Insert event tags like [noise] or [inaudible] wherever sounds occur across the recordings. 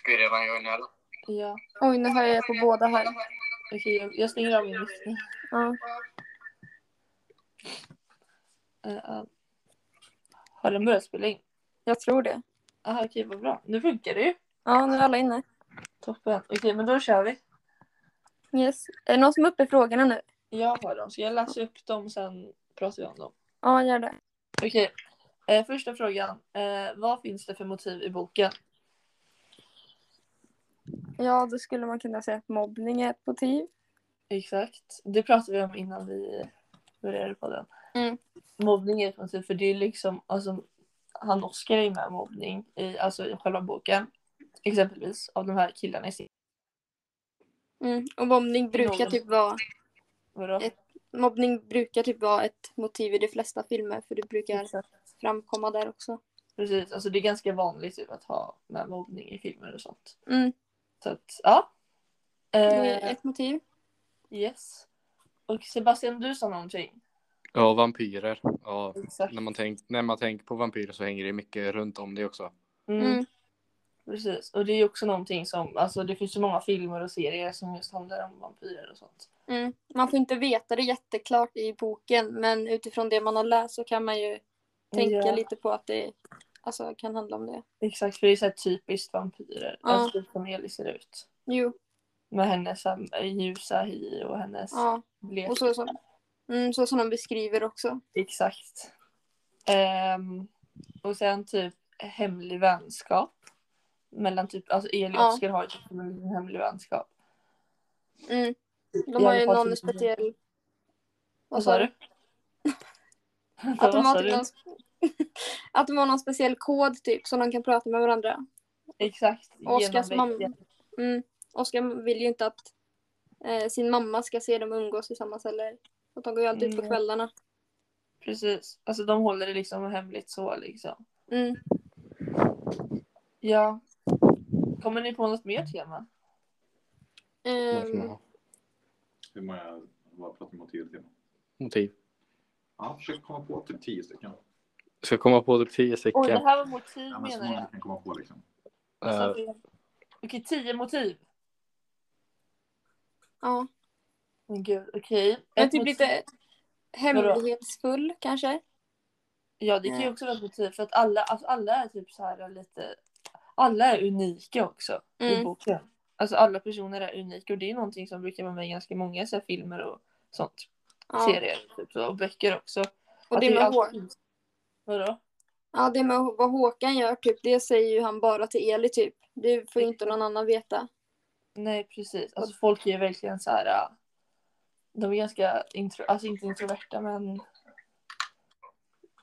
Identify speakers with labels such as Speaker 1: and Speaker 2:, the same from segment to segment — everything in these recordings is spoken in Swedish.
Speaker 1: ska ju redan göra en öl.
Speaker 2: Ja. Oj, nu har jag på båda här. Okej, jag, jag stänger av min lyssning. Ja. Eh, ja. Har den börjat spela in?
Speaker 3: Jag tror det.
Speaker 2: Jaha, okej, vad bra. Nu funkar det ju.
Speaker 3: Ja, nu är alla inne.
Speaker 2: Toppen. Okej, men då kör vi.
Speaker 3: Yes. Är det någon som är uppe i frågorna nu?
Speaker 2: Jag har dem, så jag läser upp dem sen pratar vi om dem.
Speaker 3: Ja, gör det.
Speaker 2: Okej, eh, första frågan. Eh, vad finns det för motiv i boken?
Speaker 3: Ja, då skulle man kunna säga att mobbning är ett motiv.
Speaker 2: Exakt. Det pratade vi om innan vi började på den.
Speaker 3: Mm.
Speaker 2: Mobbning är ett motiv för det är liksom, alltså, han Oskar är ju med mobbning i, alltså, i själva boken. Exempelvis av de här killarna i sin...
Speaker 3: Mm. Och mobbning brukar,
Speaker 2: Någon.
Speaker 3: typ vara,
Speaker 2: Vadå?
Speaker 3: Ett- mobbning brukar typ vara ett motiv i de flesta filmer för det brukar
Speaker 2: Exakt.
Speaker 3: framkomma där också.
Speaker 2: Precis, alltså det är ganska vanligt typ, att ha med mobbning i filmer och sånt.
Speaker 3: Mm.
Speaker 2: Så att, ja.
Speaker 3: Det är
Speaker 2: Eh,
Speaker 3: ett motiv.
Speaker 2: yes. Och Sebastian, du sa någonting.
Speaker 1: Ja, vampyrer. Ja,
Speaker 2: Exakt.
Speaker 1: när man, tänk, när man tänker på vampyrer så hänger det mycket runt om det också.
Speaker 2: Mm.
Speaker 3: Mm.
Speaker 2: Precis, och det är ju också någonting som, alltså det finns ju många filmer och serier som just handlar om vampyrer och sånt.
Speaker 3: Mm. Man får inte veta det jätteklart i boken men utifrån det man har läst så kan man ju tänka
Speaker 2: Ja.
Speaker 3: lite på att det alltså, kan handla om det.
Speaker 2: Exakt, för det är så här typiskt vampyrer.
Speaker 3: Ja.
Speaker 2: Alltså typ som Elis ser ut.
Speaker 3: Jo,
Speaker 2: Med hennes så här, ljusa hy och hennes
Speaker 3: ja.
Speaker 2: blek.
Speaker 3: Och så som, mm, så som de beskriver också.
Speaker 2: Exakt. Ehm, och sen typ hemlig vänskap. Mellan typ, alltså Eli och
Speaker 3: Ja.
Speaker 2: Oskar har ju typ en liten hemlig vänskap.
Speaker 3: Mm.
Speaker 2: I
Speaker 3: De har
Speaker 2: alla
Speaker 3: ju
Speaker 2: fall
Speaker 3: någon
Speaker 2: typ-
Speaker 3: speciell...
Speaker 2: Vad sa du?
Speaker 3: [laughs]
Speaker 2: [laughs]
Speaker 3: Att de,
Speaker 2: Vad sa du?
Speaker 3: har typ [laughs] någon... att de har någon speciell kod typ som de kan prata med varandra.
Speaker 2: Exakt.
Speaker 3: Oskars
Speaker 2: genomväxt.
Speaker 3: mamma. Mm. Oskar vill ju inte att eh, sin mamma ska se dem umgås tillsammans heller. Och de går ju alltid ut på
Speaker 2: Nej.
Speaker 3: kvällarna.
Speaker 2: Precis. Alltså de håller det liksom hemligt så liksom.
Speaker 3: Mm.
Speaker 2: Ja. Kommer ni på något mer tema? Mm.
Speaker 3: Ehm,
Speaker 4: Hur många, vad pratar vi om till?
Speaker 1: Motiv.
Speaker 4: Ja, försök komma på typ tio stycken.
Speaker 1: Ska komma på typ tio
Speaker 2: Oj, det
Speaker 1: stycken.
Speaker 2: här var motiv
Speaker 4: Ja, men så
Speaker 2: menar
Speaker 4: många
Speaker 2: jag.
Speaker 4: du kan komma på liksom.
Speaker 1: Eh,
Speaker 2: Så att- Okej, tio motiv.
Speaker 3: ja.
Speaker 2: Men gud, okej.
Speaker 3: Men
Speaker 2: Ett
Speaker 3: typ
Speaker 2: motiv-
Speaker 3: lite hemlighetsfull kanske.
Speaker 2: Ja, det kan ju också vara ett motiv för att alla, alltså, alla är typ så här lite... Alla är unika också i
Speaker 3: Mm.
Speaker 2: boken. Alltså alla personer är unika och det är någonting som brukar vara med i ganska många så här, filmer och sånt.
Speaker 3: Ja.
Speaker 2: Serier typ, så, och böcker också.
Speaker 3: Och
Speaker 2: Att
Speaker 3: det
Speaker 2: är
Speaker 3: med, Hå-
Speaker 2: alltid- Vadå?
Speaker 3: ja, det med Hå- vad Håkan gör typ, det säger ju han bara till Eli typ. Det får ju inte någon annan veta.
Speaker 2: Nej precis, alltså folk är ju verkligen så här. äh, De är ganska, intro, alltså inte introverta men
Speaker 3: Nej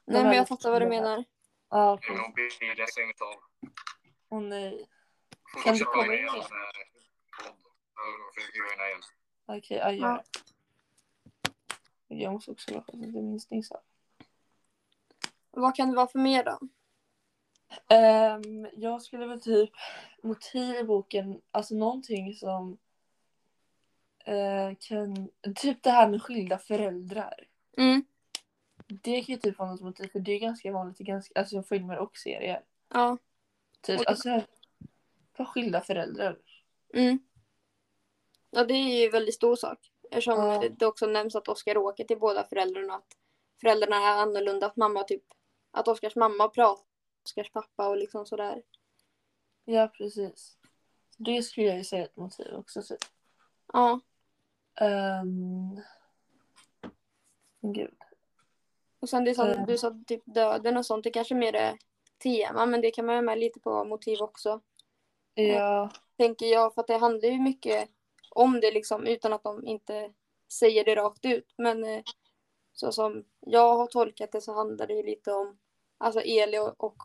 Speaker 2: här
Speaker 3: men jag
Speaker 2: liksom-
Speaker 3: fattar vad du menar.
Speaker 2: ja,
Speaker 1: Det är
Speaker 2: precis.
Speaker 1: nog billigare sänkt av.
Speaker 2: Åh nej.
Speaker 1: Folk
Speaker 2: Kan du
Speaker 1: som
Speaker 2: komma
Speaker 1: är
Speaker 2: in
Speaker 1: en,
Speaker 2: med?
Speaker 1: eh, podd. Jag försöker göra en igen.
Speaker 2: Okej, jag gör
Speaker 3: Ja.
Speaker 2: det. Jag måste också vara lite minst så.
Speaker 3: Vad kan det vara för mer då?
Speaker 2: Ehm, jag skulle väl typ motiv i boken, alltså någonting som eh, kan, typ det här med skilda föräldrar.
Speaker 3: Mm.
Speaker 2: Det kan ju typ vara något motiv för det är ganska vanligt i ganska, alltså filmer och serier.
Speaker 3: Ja.
Speaker 2: Typ, alltså, för skilda föräldrar.
Speaker 3: Mm. Ja, det är ju en väldigt stor sak. Eftersom
Speaker 2: Ja.
Speaker 3: det- det också nämns att Oskar åker till båda föräldrarna. Att föräldrarna är annorlunda. Att mamma typ... Att Oskars mamma pratar med Oskars pappa och liksom sådär.
Speaker 2: Ja, precis. Det skulle jag ju säga är ett motiv också. Typ.
Speaker 3: Ja.
Speaker 2: Ehm, Gud.
Speaker 3: Och sen det som
Speaker 2: Mm.
Speaker 3: du sa, typ döden och sånt. Det kanske mer är tema. Men det kan man ju ha med lite på motiv också.
Speaker 2: Ja,
Speaker 3: Tänker jag. För att det handlar ju mycket om det liksom. Utan att de inte säger det rakt ut. Men eh, så som jag har tolkat det så handlar det ju lite om... Alltså Eli och, och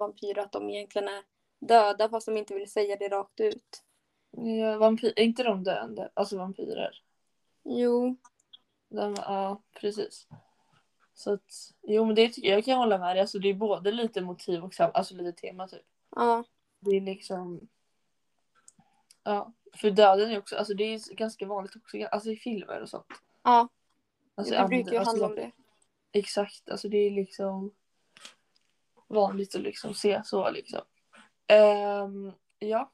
Speaker 3: vampyrer att de egentligen är döda fast de inte vill säga det rakt ut.
Speaker 2: ja vampyr, är inte de döende? Alltså vampyrer.
Speaker 3: Jo.
Speaker 2: De, ja, precis. Så att, jo men det tycker jag, jag kan hålla med dig. Alltså det är både lite motiv och sam, alltså lite tema typ.
Speaker 3: Ja.
Speaker 2: Det är liksom... Ja, för döden är också, alltså det är ganska vanligt också, alltså i filmer och sånt.
Speaker 3: Ja.
Speaker 2: Alltså,
Speaker 3: det brukar ju
Speaker 2: alltså,
Speaker 3: handla om det.
Speaker 2: Exakt, alltså det är liksom vanligt att liksom se så liksom. Ehm, Ja.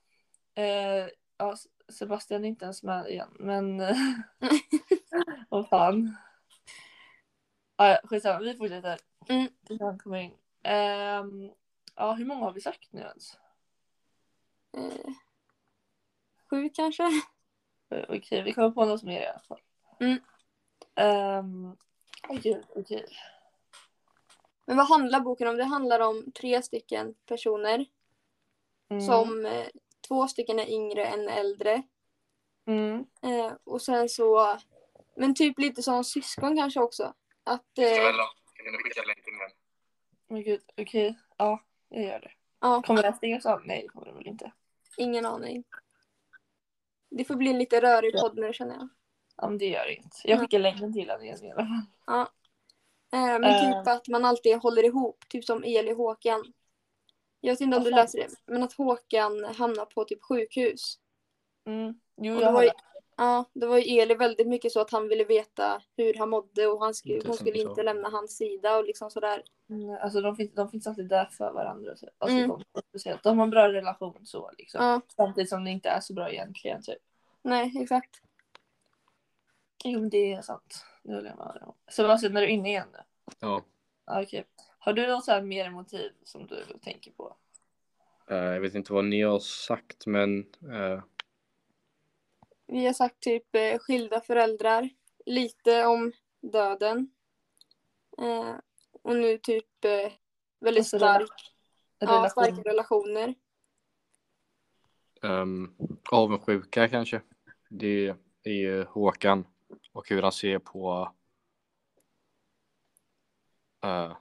Speaker 2: Eh, ja, S- Sebastian är inte ens med igen,
Speaker 3: [laughs]
Speaker 2: men... Vad fan. Ah, ja, skitsamma, vi fortsätter.
Speaker 3: Mm.
Speaker 2: Tills han kommer in. Ehm, ja, hur många har vi sagt nu ens?
Speaker 3: Eh, sju kanske?
Speaker 2: Eh, Okej, vi kommer på något mer i alla fall.
Speaker 3: Mm.
Speaker 2: Ehm, åh gud, okej.
Speaker 3: Men vad handlar boken om? Det handlar om tre stycken personer.
Speaker 2: Mm,
Speaker 3: Som eh, två stycken är yngre, en är äldre.
Speaker 2: Mm.
Speaker 3: Eh, och sen så, men typ lite som syskon kanske också. Att, eh,
Speaker 2: Men gud, okej. Ja, jag gör det.
Speaker 3: ja,
Speaker 2: Kommer det här stängas av? Nej, det kommer det väl inte.
Speaker 3: ingen aning. Det får bli en lite rörig podd nu känner jag.
Speaker 2: Ja, men det gör det inte. Jag skickar länken till honom igen i alla fall.
Speaker 3: Eh, men
Speaker 2: Eh.
Speaker 3: typ att man alltid håller ihop, typ som Eli och Håkan. Jag vet inte om
Speaker 2: Vad
Speaker 3: du
Speaker 2: fan?
Speaker 3: läser det, men att Håkan hamnar på typ sjukhus.
Speaker 2: Mm. Jo,
Speaker 3: Och
Speaker 2: jag
Speaker 3: det var,
Speaker 2: har
Speaker 3: ju, ja, det var ju Eli väldigt mycket så att han ville veta hur han mådde och han skulle,
Speaker 1: Inte
Speaker 3: hon
Speaker 1: som
Speaker 3: skulle
Speaker 1: du sa.
Speaker 3: inte lämna hans sida och liksom sådär.
Speaker 2: Mm, Alltså de finns, de finns alltid där för varandra. typ. Alltså,
Speaker 3: Mm.
Speaker 2: de, speciellt. de har en bra relation så liksom.
Speaker 3: Ja,
Speaker 2: Samtidigt som det inte är så bra egentligen. Typ.
Speaker 3: nej exakt.
Speaker 2: Jo men det är sant. Det håller jag med om. Sebastian, är du inne igen nu?
Speaker 1: Ja.
Speaker 2: Ja, Okej. Har du något så här mer motiv som du tänker på?
Speaker 1: Eh, jag vet inte vad ni har sagt, men eh,
Speaker 3: Vi har sagt typ eh, skilda föräldrar, lite om döden. Eh, och nu typ eh, väldigt
Speaker 2: Alltså,
Speaker 3: stark, ja,
Speaker 2: Relation?
Speaker 3: starka relationer.
Speaker 1: ehm, avundsjuka kanske. Det är ju Håkan och hur han ser på eh,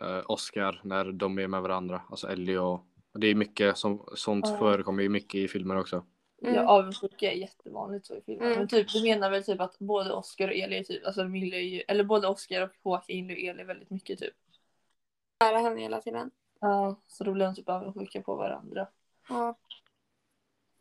Speaker 1: eh, Oscar när de är med varandra, alltså Ellie och det är mycket som, sånt
Speaker 2: Ja.
Speaker 1: förekommer ju mycket i filmer också.
Speaker 3: Mm.
Speaker 2: Ja, avundsjuka är jättevanligt så i filmen.
Speaker 3: Mm.
Speaker 2: Men typ, du menar väl typ att både Oscar och Eli är typ, alltså de gillar ju, eller både Oscar och Håkan gillar ju Eli väldigt mycket typ.
Speaker 3: Nära henne hela tiden.
Speaker 2: Ja. Så då blir de typ avundsjuka på varandra.
Speaker 3: Ja.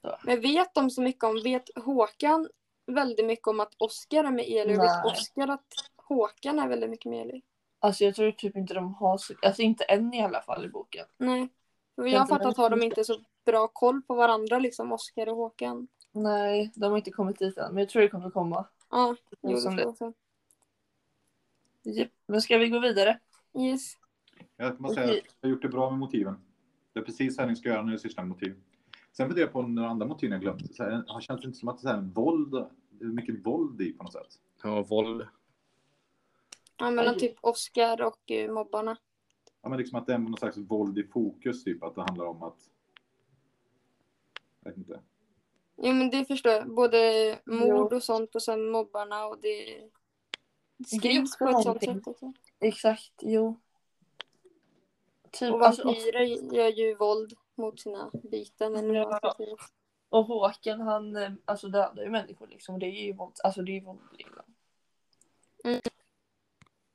Speaker 2: Så.
Speaker 3: Men vet de så mycket om, vet Håkan väldigt mycket om att Oskar är med Eli? Och vet
Speaker 2: Nej.
Speaker 3: Oskar att Håkan är väldigt mycket med Eli?
Speaker 2: Alltså jag tror typ inte de har så, alltså inte än i alla fall i boken.
Speaker 3: Nej. För
Speaker 2: Jag
Speaker 3: jag har
Speaker 2: tror
Speaker 3: fattat
Speaker 2: de-
Speaker 3: har de inte så bra koll på varandra liksom, Oskar och Håkan.
Speaker 2: Nej, de har inte kommit dit än. Men jag tror det kommer komma.
Speaker 3: Ja, jo, det
Speaker 2: som
Speaker 3: tror jag också.
Speaker 2: Japp. Men ska vi gå vidare?
Speaker 3: Yes.
Speaker 4: Jag måste säga att jag har gjort det bra med motiven. Det är precis så här ni ska göra när ni sysslar med motiv. Sen funderar jag på några andra motiv jag glömt. Så här, har känns det inte som att det är så här en våld, det är mycket våld i på något sätt?
Speaker 1: Ja, våld.
Speaker 3: Ja, mellan typ Oskar och eh, mobbarna.
Speaker 4: Ja, men liksom att det är någon slags våld i fokus, typ att det handlar om att... Jag vet inte.
Speaker 3: Jo men det förstår jag. Både mord
Speaker 2: Jo.
Speaker 3: och sånt och sen mobbarna och det
Speaker 2: Det är
Speaker 3: skrivs
Speaker 2: också
Speaker 3: på ett sånt
Speaker 2: någonting.
Speaker 3: sätt också.
Speaker 2: Exakt, jo. Typ,
Speaker 3: Och
Speaker 2: alltså,
Speaker 3: vampyrer gör ju våld mot sina byten. Eller vad man ska
Speaker 2: Ja.
Speaker 3: säga.
Speaker 2: och Håkan han eh, alltså, dödar ju människor liksom. Och Det är ju våld, alltså det är ju våld liksom.
Speaker 3: Mm.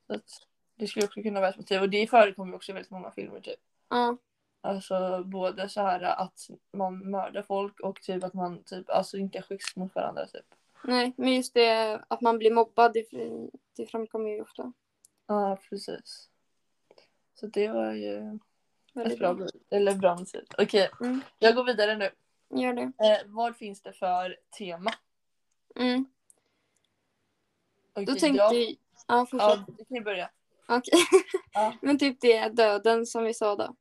Speaker 2: Så att, det skulle också kunna vara ett motiv. Och det förekommer ju också i väldigt många filmer typ.
Speaker 3: Ja,
Speaker 2: Alltså både så här att man mördar folk och typ att man typ alltså inte är schysst mot varandra typ.
Speaker 3: nej, men just det att man blir mobbad, det, det framkommer ju ofta.
Speaker 2: Ja, precis. Så det var ju ett
Speaker 3: Väldigt
Speaker 2: Alltså, bra,
Speaker 3: bra.
Speaker 2: eller bra motiv. Okej,
Speaker 3: Mm.
Speaker 2: jag går vidare nu.
Speaker 3: Gör det.
Speaker 2: Eh, vad finns det för tema?
Speaker 3: Mm.
Speaker 2: Okej,
Speaker 3: Då tänkte
Speaker 2: jag...
Speaker 3: jag... Ja, fortsätt.
Speaker 2: Ja, du kan ju börja.
Speaker 3: Okej.
Speaker 2: Ja.
Speaker 3: [laughs] men typ det är döden som vi sa då.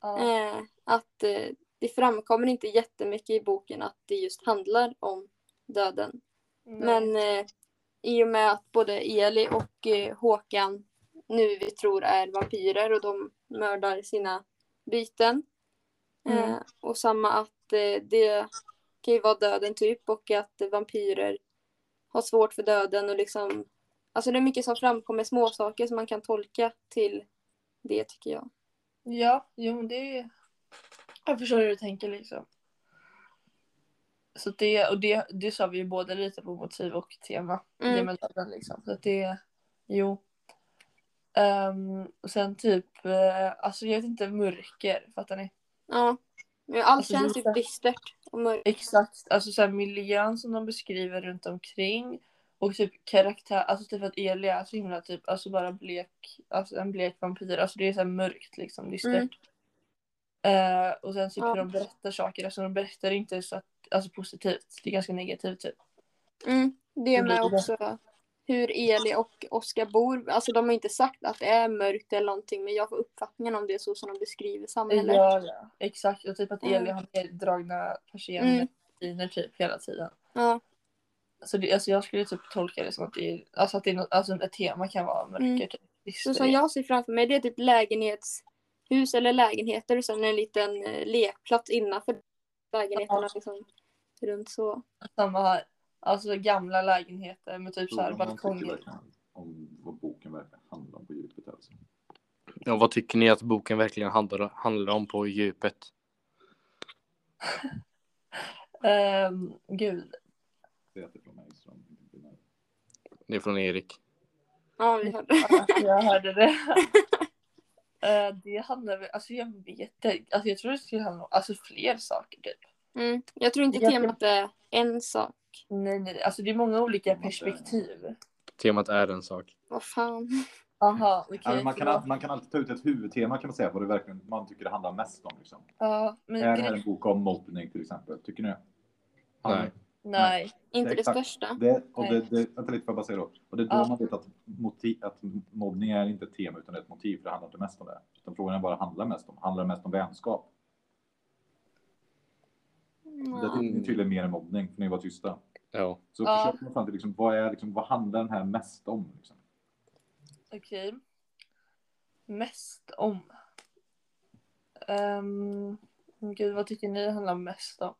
Speaker 2: Ja,
Speaker 3: Eh, att eh, det framkommer inte jättemycket i boken att det just handlar om döden.
Speaker 2: nej.
Speaker 3: Men eh, i och med att både Eli och eh, Håkan nu vi tror är vampyrer och de mördar sina byten. Eh,
Speaker 2: Mm.
Speaker 3: och samma att eh, det kan ju vara döden typ och att eh, vampyrer har svårt för döden och liksom Alltså det är mycket som framkommer, små saker som man kan tolka till det tycker jag.
Speaker 2: Ja, jo men det är... Jag förstår hur du tänker liksom. Så det, och det, det sa vi ju både lite på motiv och tema.
Speaker 3: Mm.
Speaker 2: Det med döden liksom. Så att det, jo. Ehm, och sen typ, eh, alltså jag vet inte, mörker, fattar ni?
Speaker 3: Ja. Men allt
Speaker 2: Alltså,
Speaker 3: känns
Speaker 2: det är
Speaker 3: ju
Speaker 2: så-
Speaker 3: bistert och mörkt.
Speaker 2: Exakt, alltså så här, miljön som de beskriver runt omkring och typ karaktär, alltså typ att Eli är så himla typ, alltså bara blek, alltså en blek vampyr, alltså det är så här mörkt liksom, dystert. Eh, och sen typ hur
Speaker 3: Mm. Ja.
Speaker 2: de berättar saker. Alltså de berättar inte så att, alltså positivt. Det är ganska negativt typ.
Speaker 3: Mm, det
Speaker 2: Det blir
Speaker 3: med
Speaker 2: bra.
Speaker 3: också hur Eli och Oskar bor. Alltså de har inte sagt att det är mörkt eller någonting men jag får uppfattningen om det så som de beskriver samhället.
Speaker 2: Ja, ja. Exakt. Och typ att
Speaker 3: Mm.
Speaker 2: Eli har neddragna
Speaker 3: Mm.
Speaker 2: persienner mm. typ hela tiden.
Speaker 3: Ja,
Speaker 2: Så det, alltså jag skulle typ tolka det som att det är, alltså att det är något, alltså ett tema kan vara mörker.
Speaker 3: Mm.
Speaker 2: Typ.
Speaker 3: så
Speaker 2: Visst,
Speaker 3: som jag ser framför mig det är typ lägenhetshus eller lägenheter och sen en liten eh, lekplats innanför lägenheterna.
Speaker 2: Ja.
Speaker 3: Liksom, runt så.
Speaker 2: Samma här. Alltså gamla lägenheter med typ så här
Speaker 4: Frågan om Oh, man tycker
Speaker 2: balkonger.
Speaker 4: verkligen Om vad boken verkligen handlar om på djupet. Alltså.
Speaker 1: Ja, vad tycker ni att boken verkligen handlar, handlar om på djupet?
Speaker 2: Ehm, gud.
Speaker 4: Det är från mig som inte blir nära.
Speaker 1: Det är från Erik.
Speaker 3: Ja, vi hörde.
Speaker 2: Alltså, jag hörde [laughs] det. Eh, det handlar väl, alltså jag vet inte. Alltså jag tror det skulle handla om alltså fler saker typ.
Speaker 3: Mm. Jag tror inte
Speaker 2: Jag-
Speaker 3: temat är en sak.
Speaker 2: Nej, nej, alltså det är många olika
Speaker 4: Temat är-
Speaker 2: perspektiv.
Speaker 1: Temat är en sak.
Speaker 3: Vad fan.
Speaker 2: Aha, okej.
Speaker 4: Ja, men Alltså, man, kan,
Speaker 2: förlåt.
Speaker 4: al- man kan alltid ta ut ett huvudtema kan man säga vad det verkligen man tycker det handlar mest om. Liksom.
Speaker 2: Ja, men
Speaker 4: Är det här
Speaker 2: grej-
Speaker 4: en bok om mobbning till exempel? Tycker ni?
Speaker 1: Nej.
Speaker 2: nej.
Speaker 3: Inte det
Speaker 4: Exakt.
Speaker 3: största.
Speaker 4: Det, och det,
Speaker 2: Nej.
Speaker 4: det, vänta lite, får jag bara säga då. Och det är då
Speaker 2: Ja.
Speaker 4: man vet att, motiv, att mobbning är inte ett tema utan ett motiv, för det handlar inte mest om det. Utan frågan är vad det handlar mest om. Handlar det mest om vänskap? Det
Speaker 3: Ja.
Speaker 4: tycker ni tydligen mer än mobbning, för ni var tysta.
Speaker 1: Ja.
Speaker 4: Så
Speaker 2: Ja.
Speaker 4: försök komma fram till liksom, vad, är, liksom, vad handlar den här mest om? Liksom?
Speaker 2: Okej. Mest om. Ehm, gud, vad tycker ni handlar mest om?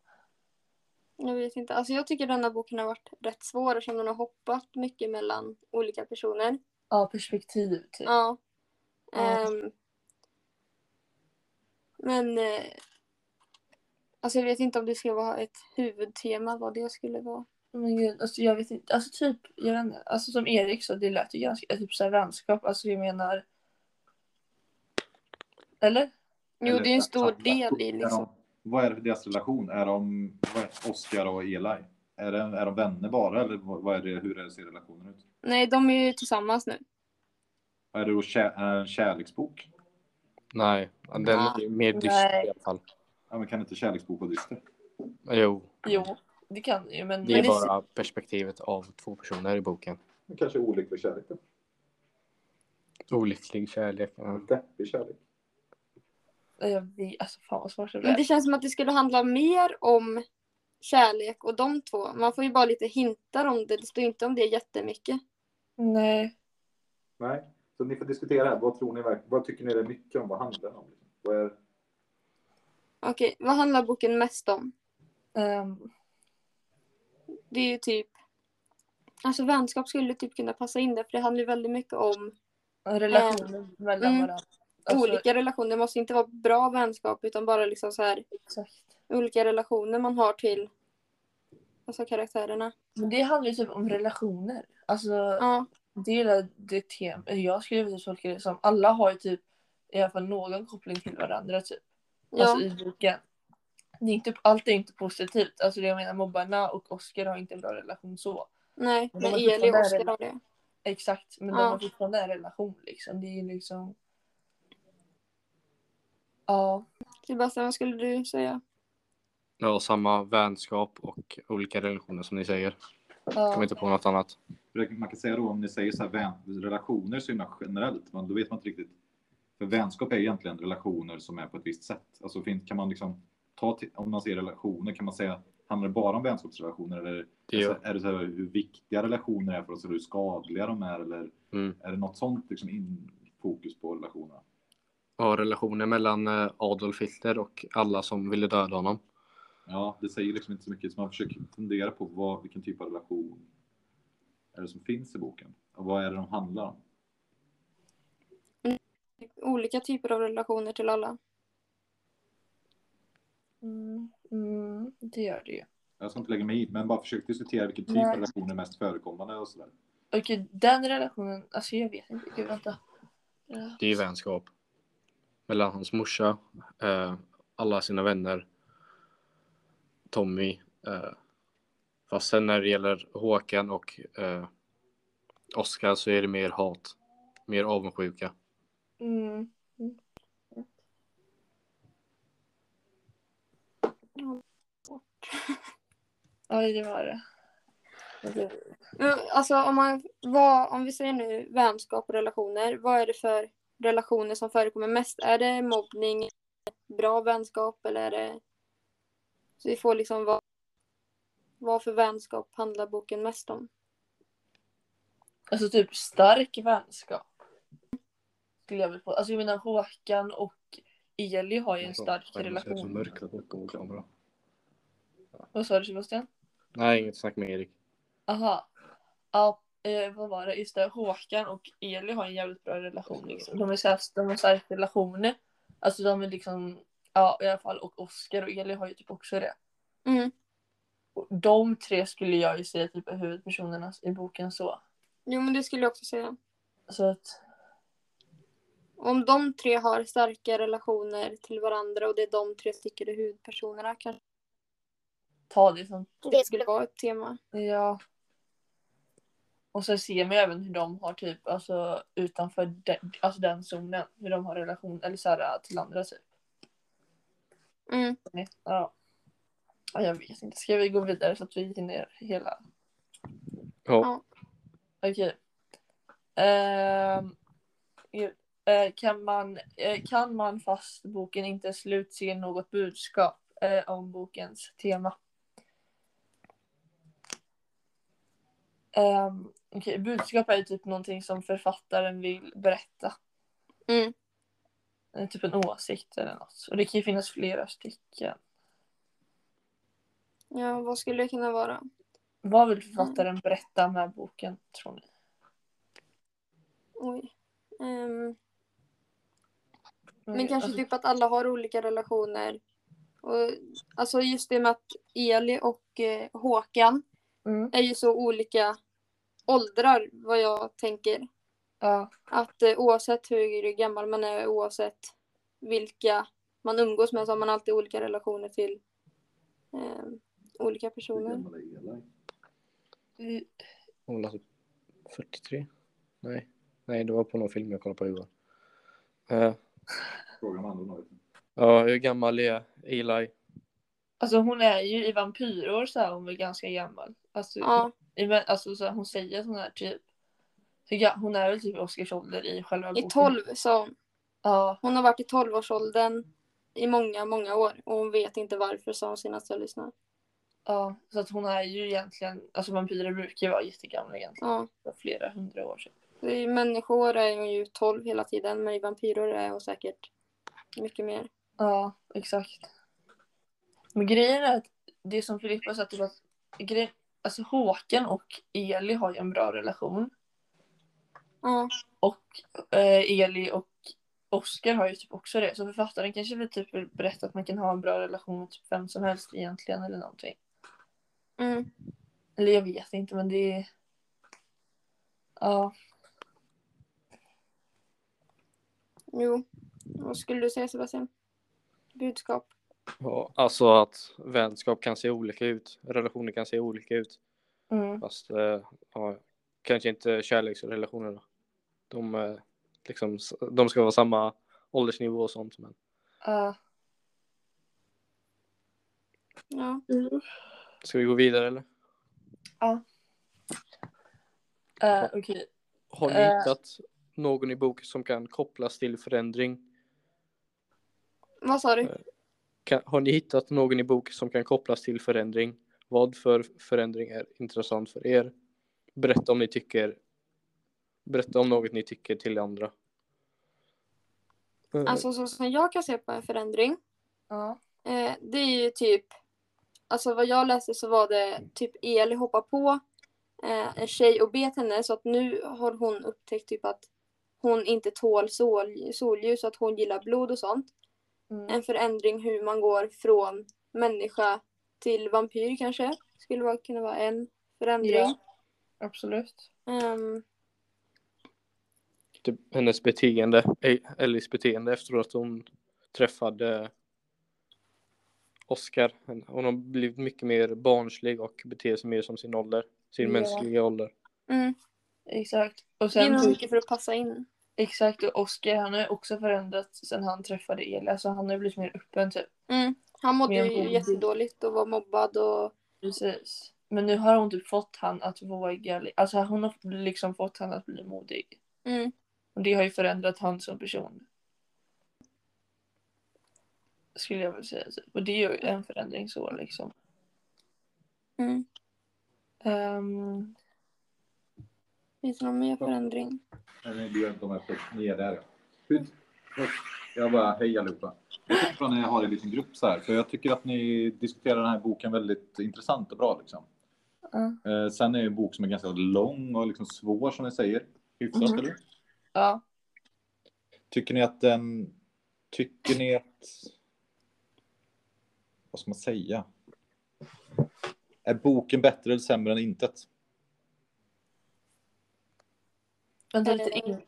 Speaker 3: Jag vet inte. Alltså jag tycker denna boken har varit rätt svår eftersom den har hoppat mycket mellan olika personer.
Speaker 2: Ja, perspektiv typ.
Speaker 3: Ja.
Speaker 2: Ja.
Speaker 3: Ehm. Men eh, alltså jag vet inte om det skulle vara ett huvudtema vad det skulle vara.
Speaker 2: Men gud, alltså jag vet inte. Alltså typ, jag vet inte. Alltså som Erik sa, det lät ju ganska, typ såhär vänskap. Alltså jag menar. Eller?
Speaker 3: Jo,
Speaker 4: Eller-
Speaker 3: det är en stor
Speaker 4: handlar-
Speaker 3: del i
Speaker 4: är de-
Speaker 3: liksom.
Speaker 4: Vad är det för deras relation? Är de vad är Oscar och Eli? Är, det, är de vänner bara eller vad vad är det, hur ser relationen ut?
Speaker 3: Nej, de är ju tillsammans nu.
Speaker 4: Är det då kär, är det en kärleksbok?
Speaker 1: Nej. Den är ju mer dyster
Speaker 2: Nej.
Speaker 1: i alla fall.
Speaker 4: Ja, men kan inte kärleksbok vara dyster?
Speaker 1: Jo.
Speaker 2: Jo, det kan ju. Men,
Speaker 1: Det
Speaker 2: men
Speaker 1: är
Speaker 2: det-
Speaker 1: bara perspektivet av två personer i boken.
Speaker 4: Men kanske olycklig kärlek då?
Speaker 1: Olycklig kärlek. Ja.
Speaker 4: Deppig kärlek?
Speaker 2: Nej, Jag vet, alltså fan vad svårt det
Speaker 3: Men det
Speaker 2: blev.
Speaker 3: känns som att det skulle handla mer om kärlek och de två. Man får ju bara lite hintar om det. Det står inte om det jättemycket.
Speaker 2: Nej.
Speaker 4: Nej. Så ni får diskutera här. Vad tror ni verkligen? Vad tycker ni det är mycket om? Vad handlar det om? Vad är...
Speaker 3: Okej, vad handlar boken mest om?
Speaker 2: Ehm,
Speaker 3: det är ju typ Alltså vänskap skulle typ kunna passa in där för det handlar ju väldigt mycket om
Speaker 2: relationer mellan
Speaker 3: Mm.
Speaker 2: varandra. Alltså,
Speaker 3: olika relationer. Det måste inte vara bra vänskap utan bara liksom så här
Speaker 2: Exakt.
Speaker 3: olika relationer man har till alltså karaktärerna.
Speaker 2: Men det handlar ju typ om relationer. Alltså
Speaker 3: Ja,
Speaker 2: det är det- det tema. Jag skulle typ tolka det som alla har ju typ i alla fall någon koppling till varandra typ.
Speaker 3: ja,
Speaker 2: Alltså i boken. Det är inte, allt är inte positivt. Alltså det jag menar mobbarna och Oscar har inte en bra relation så.
Speaker 3: nej,
Speaker 2: de
Speaker 3: men
Speaker 2: har
Speaker 3: Eli och
Speaker 2: fortfarande
Speaker 3: Oskar
Speaker 2: en-
Speaker 3: har det.
Speaker 2: Exakt. Men
Speaker 3: Ja.
Speaker 2: de har fortfarande en relation liksom. Det är ju liksom. Ja.
Speaker 3: Sebastian, vad skulle du säga?
Speaker 1: ja, samma vänskap och olika relationer som ni säger. Kommer
Speaker 2: ja.
Speaker 1: inte på något annat.
Speaker 4: Man kan säga då om ni säger så här vän... relationer så himla generellt, men då vet man inte riktigt. För vänskap är egentligen relationer som är på ett visst sätt. Alltså fin- kan man liksom ta till... om man ser relationer kan man säga handlar det bara om vänskapsrelationer eller
Speaker 1: Det gör.
Speaker 4: alltså, är det så här, hur viktiga relationer är för oss eller hur skadliga de är eller
Speaker 1: Mm.
Speaker 4: är det något sånt liksom in fokus på relationerna?
Speaker 1: Ja, relationen mellan eh, Adolf Hitler och alla som ville döda honom.
Speaker 4: Ja, det säger liksom inte så mycket. Så man försöker fundera på vad, vilken typ av relation är det som finns i boken? Och vad är det de handlar om?
Speaker 3: Olika typer av relationer till alla.
Speaker 2: Mm, mm, det gör det ju.
Speaker 4: Jag ska inte lägga mig i, men bara försök diskutera vilken typ
Speaker 2: Nej.
Speaker 4: av relationer är mest förekommande och sådär.
Speaker 2: Okej, den relationen, alltså jag vet inte. Gud, vänta.
Speaker 1: Det är ju vänskap. Mellan hans morsa, eh, alla sina vänner, Tommy. Eh, fast sen när det gäller Håkan och eh, Oskar så är det mer hat. Mer avundsjuka.
Speaker 2: Mm. Ja, det var det. Okej.
Speaker 3: Men, Alltså om, man, vad, om vi säger nu vänskap och relationer, vad är det för relationer som förekommer mest? Är det mobbning, bra vänskap eller är det... Så vi får liksom vad, vad för vänskap handlar boken mest om?
Speaker 2: Alltså typ stark vänskap. Skulle jag vilja på. Alltså jag menar Håkan och Eli har ju en stark relation.
Speaker 1: mörkret mycket mot kameran.
Speaker 2: Vad sa du Sebastian?
Speaker 1: Nej, inget snack med Erik.
Speaker 2: Aha. Ja, eh, vad var det? Just det, Håkan och Eli har en jävligt bra relation. Liksom. De, är så här, de har starka relationer. Alltså de är liksom, ja i alla fall, och Oskar och Eli har ju typ också det.
Speaker 3: Mm.
Speaker 2: Och de tre skulle jag ju säga typ är huvudpersonerna i boken så.
Speaker 3: Jo men det skulle jag också säga.
Speaker 2: Så att,
Speaker 3: Om de tre har starka relationer till varandra och det är de tre stycken är huvudpersonerna kanske
Speaker 2: ta det som
Speaker 3: det skulle vara ett tema.
Speaker 2: Ja. Och sen ser man ju även hur de har typ, alltså utanför den, alltså den zonen, hur de har relation, eller så här, till andra typ.
Speaker 3: Mm.
Speaker 2: Ja. ja. Jag vet inte, ska vi gå vidare så att vi hinner hela?
Speaker 1: Ja.
Speaker 2: Okej. Ehm, ju- eh, kan, man, eh, kan man fast boken inte är slut se något budskap eh, om bokens tema? Um, budskap är ju typ någonting som författaren vill berätta.
Speaker 3: Mm.
Speaker 2: Eh, Typ en åsikt eller något. Och det kan ju finnas flera stycken.
Speaker 3: Ja, vad skulle det kunna vara?
Speaker 2: Vad
Speaker 3: Mm.
Speaker 2: vill författaren berätta med boken tror ni?
Speaker 3: Oj. Ehm,
Speaker 2: Eh,
Speaker 3: men kanske
Speaker 2: alltså,
Speaker 3: typ att alla har olika relationer. Och, alltså just det med att Eli och eh, Håkan
Speaker 2: mm,
Speaker 3: är ju så olika åldrar vad jag tänker.
Speaker 2: ja,
Speaker 3: Att eh, oavsett hur gammal man är, oavsett vilka man umgås med så har man alltid olika relationer till ehm, olika personer.
Speaker 2: eh,
Speaker 1: Hon var typ 43? Nej. Nej, det var på någon film jag kollade på igår. Eh,
Speaker 4: Fråga om andra något.
Speaker 1: Ja, hur gammal är Eli?
Speaker 2: alltså hon är ju i vampyrår så här, hon är ganska gammal. Alltså,
Speaker 3: Ja,
Speaker 2: i- men, alltså så här, hon säger sån här typ. så ja, Hon är väl typ i Oscars ålder i själva
Speaker 3: i
Speaker 2: boken.
Speaker 3: 12 sa hon.
Speaker 2: Ja,
Speaker 3: Hon har varit i 12-årsåldern i många, många år och hon vet inte varför sa hon senast jag lyssnade.
Speaker 2: ja, så att hon är ju egentligen, alltså vampyrer brukar ju vara jättegamla egentligen.
Speaker 3: Ja.
Speaker 2: för Flera hundra år sedan.
Speaker 3: I människor är hon ju 12 hela tiden men i vampyrer är hon säkert mycket mer.
Speaker 2: Ja, exakt. Men grejen är att det som Filippa sa, typ att grej, alltså Håkan och Eli har ju en bra relation.
Speaker 3: Ja,
Speaker 2: Eh, Eli och Oskar har ju typ också det. Så författaren kanske vill typ vill berätta att man kan ha en bra relation med typ vem som helst egentligen eller någonting.
Speaker 3: mm.
Speaker 2: Eller jag vet inte men det är... Ja.
Speaker 3: jo. Vad skulle du säga Sebastian? Budskap?
Speaker 1: Ja, alltså att vänskap kan se olika ut. Relationer kan se olika ut.
Speaker 2: Mm.
Speaker 1: Fast eh, ja, kanske inte kärleksrelationer då. De, eh, liksom, de ska vara samma åldersnivå och sånt. Men
Speaker 2: Ja. eh,
Speaker 3: Ja.
Speaker 1: ska vi gå vidare eller?
Speaker 2: Eh, Okej.
Speaker 1: Har ni
Speaker 2: Eh.
Speaker 1: hittat någon i boken som kan kopplas till förändring?
Speaker 3: Vad sa du?
Speaker 1: Kan, har ni hittat någon i boken som kan kopplas till förändring? Vad för förändring är intressant för er? Berätta om ni tycker. Berätta om något ni tycker till andra. Eh,
Speaker 3: Alltså så som jag kan se på en förändring
Speaker 2: Ja.
Speaker 3: Eh, det är ju typ, alltså vad jag läste så var det typ Eli hoppar på eh, en tjej och bet henne så att nu har hon upptäckt typ att hon inte tål sol, solljus och att hon gillar blod och sånt.
Speaker 2: Mm.
Speaker 3: En förändring hur man går från människa till vampyr kanske skulle vara, kunna vara en förändring.
Speaker 2: Ja. Absolut.
Speaker 3: Ehm,
Speaker 1: typ hennes beteende, eh, Ellies beteende efter att hon träffade Oscar. Hon har blivit mycket mer barnslig och beter sig mer som sin ålder, sin
Speaker 2: Ja.
Speaker 1: mänskliga ålder.
Speaker 3: mm,
Speaker 2: Exakt. Och
Speaker 3: det är
Speaker 2: sen
Speaker 3: nog
Speaker 2: typ,
Speaker 3: mycket för att passa in.
Speaker 2: exakt och Oskar han har ju också förändrats sen han träffade Eli. Alltså han har ju blivit mer öppen typ.
Speaker 3: Mm. Han mådde
Speaker 2: Mer
Speaker 3: ju
Speaker 2: mobbig.
Speaker 3: jättedåligt och var mobbad och
Speaker 2: Precis. Men nu har hon typ fått han att våga, alltså hon har liksom fått han att bli modig.
Speaker 3: Mm.
Speaker 2: Och det har ju förändrat han som person. Skulle jag vilja säga. typ. Och det är ju en förändring så liksom.
Speaker 3: Mm.
Speaker 2: Ehm,
Speaker 3: Finns det någon mer förändring?
Speaker 4: Nej, det gör inte de här först. Ni är där. Hur- Jag bara, hej allihopa. Jag tycker att ni har en liten grupp så här, för jag tycker att ni diskuterar den här boken väldigt intressant och bra liksom.
Speaker 2: Ja.
Speaker 4: Eh, sen är det en bok som är ganska lång och liksom svår som ni säger. Hyfsat,
Speaker 2: Mhm.
Speaker 4: eller?
Speaker 2: ja.
Speaker 4: Tycker ni att den... Tycker ni att... Vad ska man säga? Är boken bättre eller sämre än intet?
Speaker 2: Vänta
Speaker 3: typ
Speaker 2: lite. In...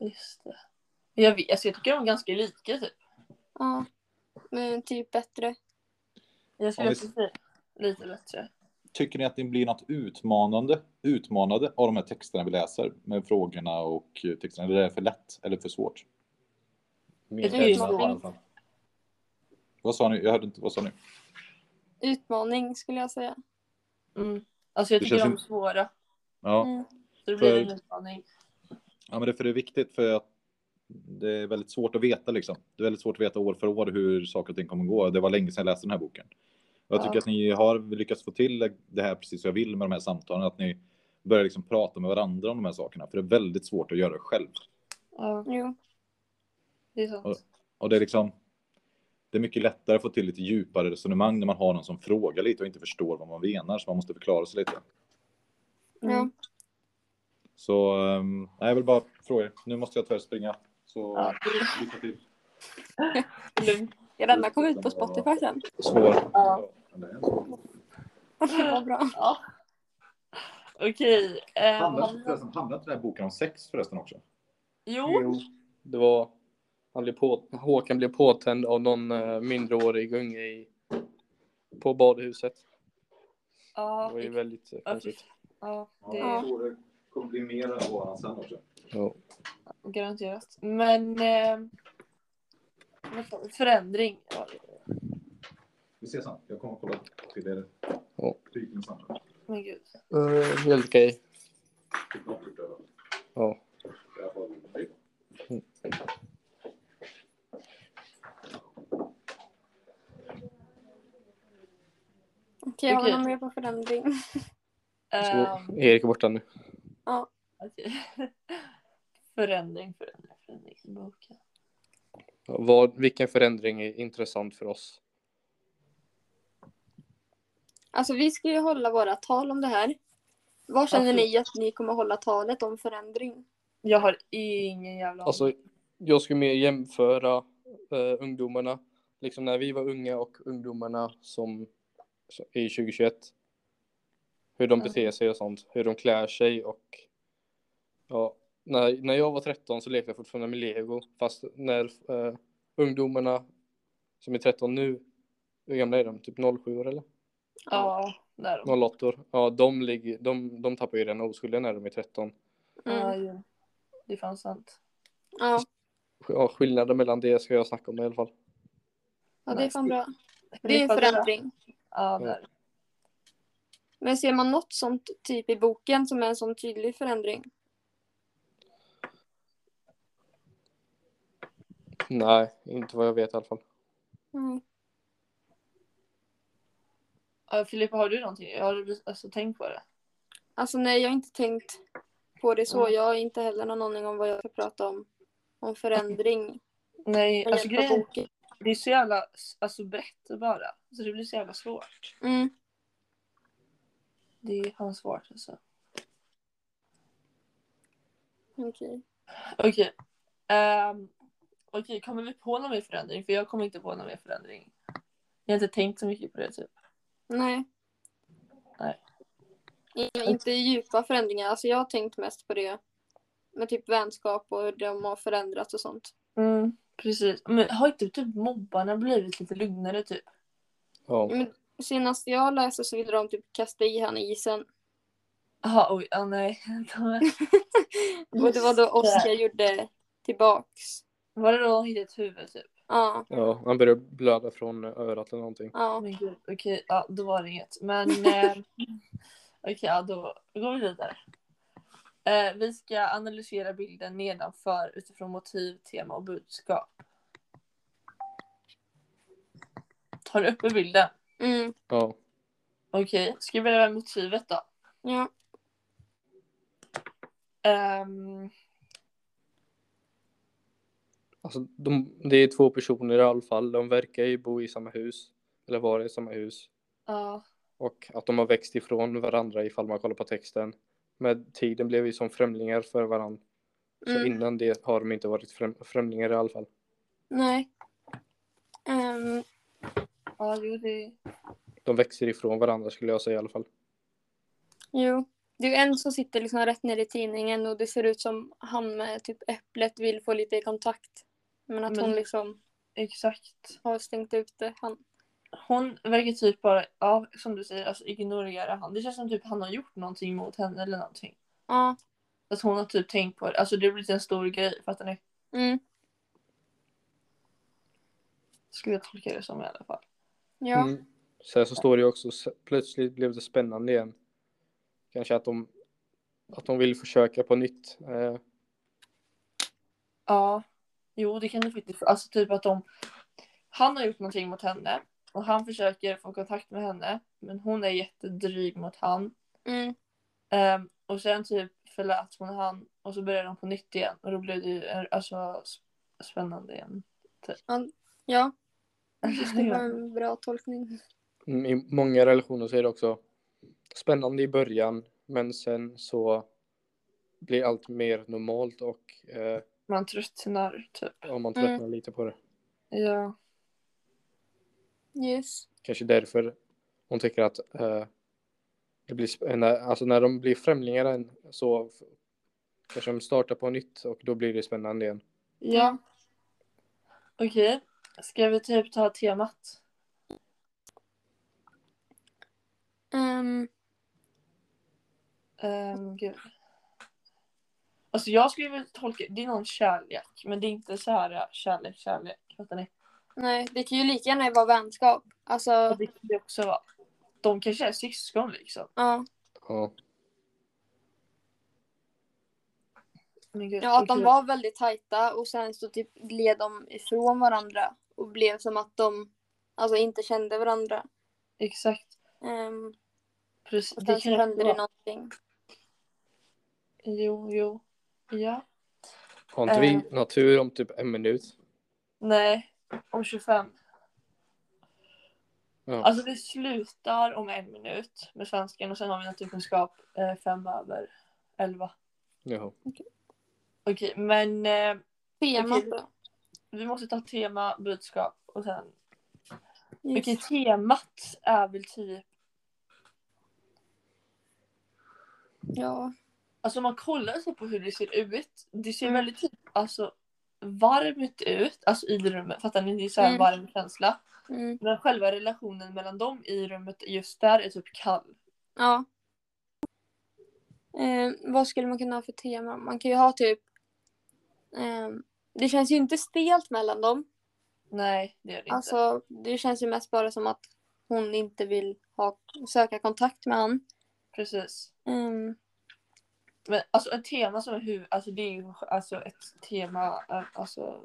Speaker 2: Just det. Jag, vet, alltså, jag tycker de är ganska lika typ.
Speaker 3: Ja. Men typ bättre.
Speaker 2: Jag skulle
Speaker 4: vi-
Speaker 2: också säga lite bättre.
Speaker 4: Tycker ni att ni blir något utmanande, utmanade av de här texterna vi läser med frågorna och eh, texterna? Eller är det för lätt eller för svårt?
Speaker 1: Mer
Speaker 2: Det är ju
Speaker 1: än
Speaker 3: så.
Speaker 1: i alla fall.
Speaker 4: Vad sa ni? Jag hörde inte. Vad sa ni?
Speaker 3: Utmaning skulle jag säga.
Speaker 2: Mm. Alltså jag
Speaker 4: Det
Speaker 2: tycker
Speaker 4: känns
Speaker 2: de är svåra.
Speaker 4: Ja,
Speaker 3: Mm.
Speaker 2: Så det blir
Speaker 4: För-
Speaker 2: en utmaning.
Speaker 4: ja men det, för det är viktigt för att det är väldigt svårt att veta liksom. Det är väldigt svårt att veta år för år hur saker och ting kommer gå. Det var länge sedan jag läste den här boken. Och Jag tycker
Speaker 2: Ja.
Speaker 4: att ni har lyckats få till det här precis som jag vill med de här samtalen, att ni börjar liksom prata med varandra om de här sakerna, för det är väldigt svårt att göra själv.
Speaker 2: Ja,
Speaker 3: Jo.
Speaker 2: det är sant.
Speaker 4: Och det är liksom Det är mycket lättare att få till lite djupare resonemang när man har någon som frågar lite och inte förstår vad man menar så man måste förklara sig lite.
Speaker 3: Ja.
Speaker 2: Mm.
Speaker 4: Så ehm, nej, jag vill bara fråga er. Nu måste jag tyvärr springa. Så
Speaker 2: Ja.
Speaker 4: lycka till.
Speaker 2: Lugnt.
Speaker 3: Ska denna komma ut på Spotify sen? [laughs]
Speaker 4: Svår.
Speaker 2: Ja.
Speaker 3: Vad bra.
Speaker 2: Ja. Okej. ehm, har vi-
Speaker 4: Handlar inte den här boken om sex förresten också?
Speaker 2: jo,
Speaker 1: Jo, det var... Han blev på, Håkan blev påtänd av någon eh, mindreårig unge i, på badhuset. Det
Speaker 2: ja,
Speaker 1: var ju
Speaker 2: ik-
Speaker 1: väldigt eh,
Speaker 2: ja,
Speaker 1: konstigt.
Speaker 2: ja, det
Speaker 3: Ja.
Speaker 2: är
Speaker 4: det kommer bli mer än våran sen också.
Speaker 1: Ja.
Speaker 2: garanterat. Men ehm, vad sa vi? förändring. Ja,
Speaker 4: Vi ses sen. Jag kommer kolla Typ till er.
Speaker 1: Ja.
Speaker 2: Men gud.
Speaker 1: Eh, helt okej.
Speaker 4: Typ
Speaker 1: Ja.
Speaker 3: Okej, har vi
Speaker 2: Okej.
Speaker 3: någon mer på förändring?
Speaker 2: Ehm,
Speaker 1: Så, Erik är borta nu.
Speaker 2: okej. [laughs] förändring, förändring, förändring. i Boken.
Speaker 1: Vad, vilken förändring är intressant för oss?
Speaker 3: Alltså vi ska ju hålla våra tal om det här. Vad känner ni att ni kommer hålla talet om förändring?
Speaker 2: Jag har ingen jävla aning.
Speaker 1: Alltså, jag skulle mer jämföra eh, ungdomarna, liksom när vi var unga och ungdomarna som som är i 2021. Hur de
Speaker 2: Ja.
Speaker 1: beter sig och sånt, hur de klär sig och ja, när, när jag var 13 så lekte jag fortfarande med lego, fast när eh, ungdomarna som är 13 nu, hur gamla är de? Typ 07 eller?
Speaker 2: ja, där. de-
Speaker 1: 08 Ja, de, ligger, de, de tappar ju den oskulden när de är 13.
Speaker 2: Ja,
Speaker 3: Mm.
Speaker 2: jo. Det är fan sant.
Speaker 3: Ja,
Speaker 1: Ja, skillnaden mellan det ska jag snacka om i alla fall.
Speaker 3: ja, det är fan bra. Det är
Speaker 2: Men
Speaker 3: en
Speaker 2: fan-
Speaker 3: förändring.
Speaker 2: Ja, där.
Speaker 3: Men ser man något sånt typ i boken som är en sån tydlig förändring?
Speaker 1: Nej, inte vad jag vet i alla fall.
Speaker 3: Mm.
Speaker 2: Ja, Filippa, har du någonting? Har du alltså, tänkt på det?
Speaker 3: Alltså nej, jag har inte tänkt på det så.
Speaker 2: Mm.
Speaker 3: Jag har inte heller någon aning om vad jag ska prata om. Om förändring.
Speaker 2: Nej,
Speaker 3: Med
Speaker 2: alltså
Speaker 3: hjälp av
Speaker 2: grejen
Speaker 3: boken.
Speaker 2: det är så jävla alltså, brett bara. Så det blir så jävla svårt.
Speaker 3: Mm.
Speaker 2: Det är fan svårt alltså.
Speaker 3: Okej.
Speaker 2: Okej. Ehm, Okej, kommer vi på någon mer förändring? För jag kommer inte på någon mer förändring. Jag har inte tänkt så mycket på det typ.
Speaker 3: Nej.
Speaker 2: Nej.
Speaker 3: I- Inte djupa förändringar. Alltså jag har tänkt mest på det. Med typ vänskap och hur de har förändrats och sånt.
Speaker 2: Mm, precis. Men har inte typ mobbarna blivit lite lugnare typ?
Speaker 1: Ja.
Speaker 3: Men senast jag läste så ville de typ kasta i han i isen.
Speaker 2: Jaha, oj, ja nej. [laughs]
Speaker 3: Och det var då Oskar gjorde tillbaks.
Speaker 2: var det då de hittade ett huvud typ?
Speaker 3: Ja,
Speaker 1: Ja, han började blöda från örat eller någonting.
Speaker 2: Åh,
Speaker 3: ja.
Speaker 2: men gud, okej, ja, då var det inget. Men eh, okej, ja, då går vi vidare. Eh, vi ska analysera bilden nedanför utifrån motiv, tema och budskap. Tar du uppe bilden?
Speaker 3: Mm,
Speaker 1: Ja.
Speaker 2: Okej, ska vi börja med motivet då?
Speaker 3: ja.
Speaker 2: Ehm,
Speaker 1: Alltså, de, det är två personer i alla fall. De verkar ju bo i samma hus. Eller vara i samma hus.
Speaker 2: ja,
Speaker 1: Och att de har växt ifrån varandra ifall man kollar på texten. Med tiden blev vi som främlingar för varandra. Så
Speaker 3: Mm.
Speaker 1: innan det har de inte varit främ främlingar i alla fall.
Speaker 3: Nej. Ehm,
Speaker 2: ja, jo, det...
Speaker 1: De växer ifrån varandra skulle jag säga i alla fall.
Speaker 3: jo. Det är ju en som sitter liksom rätt ner i tidningen och det ser ut som han med typ äpplet vill få lite kontakt. Men att
Speaker 2: Men-
Speaker 3: hon liksom
Speaker 2: Exakt.
Speaker 3: har stängt ute han.
Speaker 2: Hon verkar typ bara, ja, som du säger, alltså ignorera han. Det känns som typ han har gjort någonting mot henne eller någonting.
Speaker 3: Ja.
Speaker 2: Att hon har typ tänkt på det. Alltså det har blivit en stor grej, fattar ni?
Speaker 3: Mm.
Speaker 2: Skulle jag tolka det som i alla fall.
Speaker 3: Ja.
Speaker 1: Mm. Sen så står det ju också, s- plötsligt blev det spännande igen. Kanske att de, att de vill försöka på nytt. Eh,
Speaker 2: Ja. Jo, det kan du faktiskt. Alltså typ att de... Han har gjort någonting mot henne. Och han försöker få kontakt med henne. Men hon är jättedryg mot han.
Speaker 3: Mm.
Speaker 2: Ehm, och sen typ förlät hon han. Och så började de på nytt igen. Och då blev det ju eh, alltså sp- spännande igen. [laughs]
Speaker 3: Ja.
Speaker 2: Mm.
Speaker 3: Det var en bra tolkning.
Speaker 1: mm, I många relationer så är det också spännande i början, men sen så blir allt mer normalt och eh,
Speaker 2: Man tröttnar typ.
Speaker 1: om man
Speaker 3: Mm.
Speaker 1: tröttnar lite på det.
Speaker 2: Ja.
Speaker 3: Yes.
Speaker 1: Kanske därför hon tycker att eh, det blir, sp- när, alltså när de blir främlingar än, så f- kanske de startar på nytt och då blir det spännande igen.
Speaker 2: Ja. Okej. Ska vi typ ta temat?
Speaker 3: Ehm,
Speaker 2: Um, gud. Alltså jag skulle väl tolka, det är någon kärlek, men det är inte så här äh, kärlek, kärlek. Fattar ni?
Speaker 3: nej, det kan ju lika gärna vara vänskap. Alltså,
Speaker 2: Och det kan det också vara. De kanske är syskon liksom.
Speaker 3: ja.
Speaker 1: Ja.
Speaker 2: Men gud,
Speaker 3: ja, att de
Speaker 2: okej.
Speaker 3: var väldigt tajta och sen så typ gled de ifrån varandra och blev som att de alltså, inte kände varandra.
Speaker 2: Exakt.
Speaker 3: Ehm,
Speaker 2: Precis.
Speaker 3: och
Speaker 2: Det
Speaker 3: sen så
Speaker 2: kan också
Speaker 3: hände det
Speaker 2: vara.
Speaker 3: någonting.
Speaker 2: Jo, jo. Ja.
Speaker 1: Har inte
Speaker 2: Eh.
Speaker 1: vi natur om typ en minut?
Speaker 2: Nej. Om 25.
Speaker 1: Ja.
Speaker 2: Alltså vi slutar om en minut med svenskan och sen har vi naturkunskap eh, fem över elva.
Speaker 1: [laughs] Jaha.
Speaker 2: Okej, men eh,
Speaker 3: Temat
Speaker 2: Okej.
Speaker 3: då?
Speaker 2: vi måste ta tema, budskap och sen
Speaker 3: Yes.
Speaker 2: Okej, temat är väl typ...
Speaker 3: Ja.
Speaker 2: Alltså om man kollar sig på hur det ser ut. Det ser
Speaker 3: Mm.
Speaker 2: väldigt typ, alltså, varmt ut alltså i rummet. Fattar ni? Det är så här
Speaker 3: Mm.
Speaker 2: varm känsla.
Speaker 3: Mm.
Speaker 2: Men själva relationen mellan dem i rummet just där är typ kall.
Speaker 3: Ja. Ehm, vad skulle man kunna ha för tema? Man kan ju ha typ... ehm, det känns ju inte stelt mellan dem.
Speaker 2: Nej, det är det inte.
Speaker 3: Alltså, det känns ju mest bara som att hon inte vill ha, söka kontakt med han.
Speaker 2: Precis.
Speaker 3: Mm,
Speaker 2: Men alltså ett tema som är hur... Alltså det är ju alltså, ett tema... eh, Alltså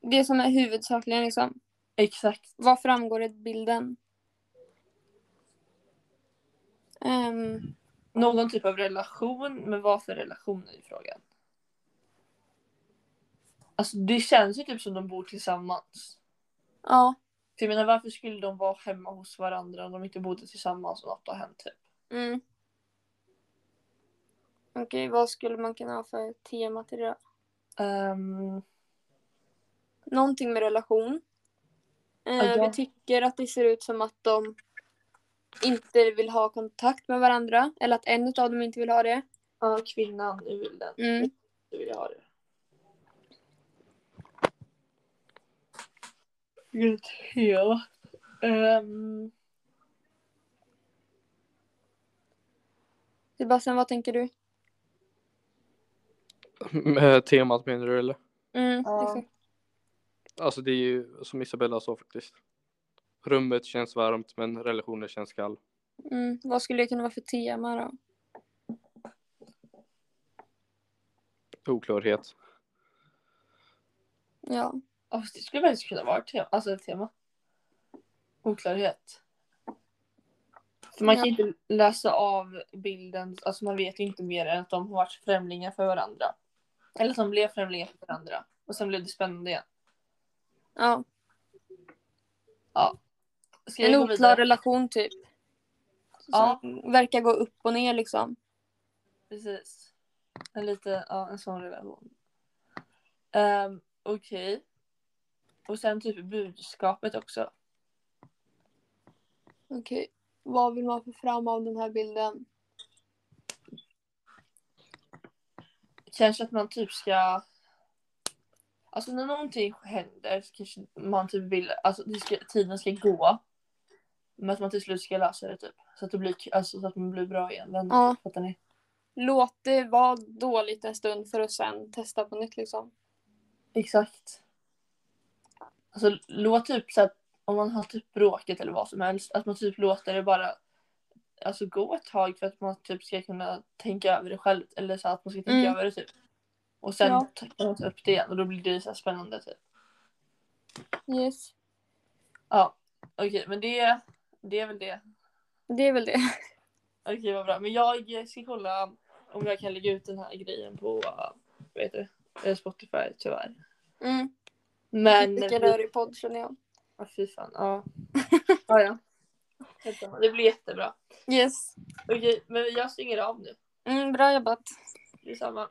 Speaker 3: det som är huvudsakligen liksom,
Speaker 2: exakt.
Speaker 3: vad framgår i bilden? Ehm,
Speaker 2: Någon typ av relation. Men vad för relation är ju frågan. Alltså det känns ju typ som de bor tillsammans.
Speaker 3: ja,
Speaker 2: För jag menar varför skulle de vara hemma hos varandra om de inte bodde tillsammans och något har hänt typ?
Speaker 3: mm. Okej, vad skulle man kunna ha för tema till det då?
Speaker 2: Ehm,
Speaker 3: Någonting med relation. Eh,
Speaker 2: Ja, ja.
Speaker 3: Vi tycker att det ser ut som att de inte vill ha kontakt med varandra. Eller att en av dem inte vill ha det.
Speaker 2: ja, kvinnan i bilden.
Speaker 3: Mm.
Speaker 2: Du vill jag ha det. Vilket tema. Ehm,
Speaker 3: Sebastian, vad tänker du?
Speaker 1: Mm, eh, Temat menar du eller?
Speaker 3: Mm,
Speaker 2: Ja.
Speaker 3: exakt.
Speaker 1: Alltså det är ju som Isabella sa faktiskt. Rummet känns varmt men relationen känns kall.
Speaker 3: Mm, vad skulle det kunna vara för tema då?
Speaker 1: Oklarhet.
Speaker 3: Ja.
Speaker 2: Alltså, det skulle faktiskt kunna vara ett tema. Alltså, ett tema. Oklarhet. För man kan ju inte läsa av bilden, alltså man vet ju inte mer än att de har varit främlingar för varandra. Eller som blev främlingar för varandra. Och sen blev det spännande igen.
Speaker 3: ja.
Speaker 2: Ska
Speaker 3: En
Speaker 2: jag gå
Speaker 3: oklar
Speaker 2: vidare?
Speaker 3: relation typ.
Speaker 2: Ja.
Speaker 3: Som Verkar gå upp och ner liksom.
Speaker 2: Precis. En lite, ja en sån relation. Um, Okej. Och sen typ budskapet också.
Speaker 3: Okej. Vad vill man få fram av den här bilden?
Speaker 2: Kanske att man typ ska... Alltså när någonting händer så kanske man typ vill... Alltså det ska, tiden ska gå. Men att man till slut ska lösa det typ. Så att, det blir, alltså, så att man blir bra igen. Men,
Speaker 3: Ja.
Speaker 2: fattar ni?
Speaker 3: Låt det vara dåligt en stund för att sen testa på nytt liksom.
Speaker 2: Exakt. Alltså låt typ så att om man har typ bråket eller vad som helst. Att man typ låter det bara alltså, gå ett tag för att man typ ska kunna tänka över det själv. Eller så att man ska tänka
Speaker 3: Mm.
Speaker 2: över det typ. Och sen
Speaker 3: Ja.
Speaker 2: tar man upp det igen och då blir det så här spännande typ.
Speaker 3: Yes.
Speaker 2: Ja, okej, men det, det är väl det.
Speaker 3: Det är väl det.
Speaker 2: Okej, vad bra. Men jag ska kolla om jag kan lägga ut den här grejen på eh, vad heter det? Eh, Spotify, tyvärr.
Speaker 3: Mm.
Speaker 2: Men...
Speaker 3: Vilken rörig podd känner jag.
Speaker 2: Ja, fy fan. Ja. ja, ja. Det blir jättebra.
Speaker 3: Yes.
Speaker 2: Okej, men jag stänger av nu.
Speaker 3: Mm, bra jobbat.
Speaker 2: Detsamma.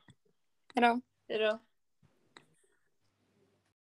Speaker 3: Hejdå.
Speaker 2: Hej då.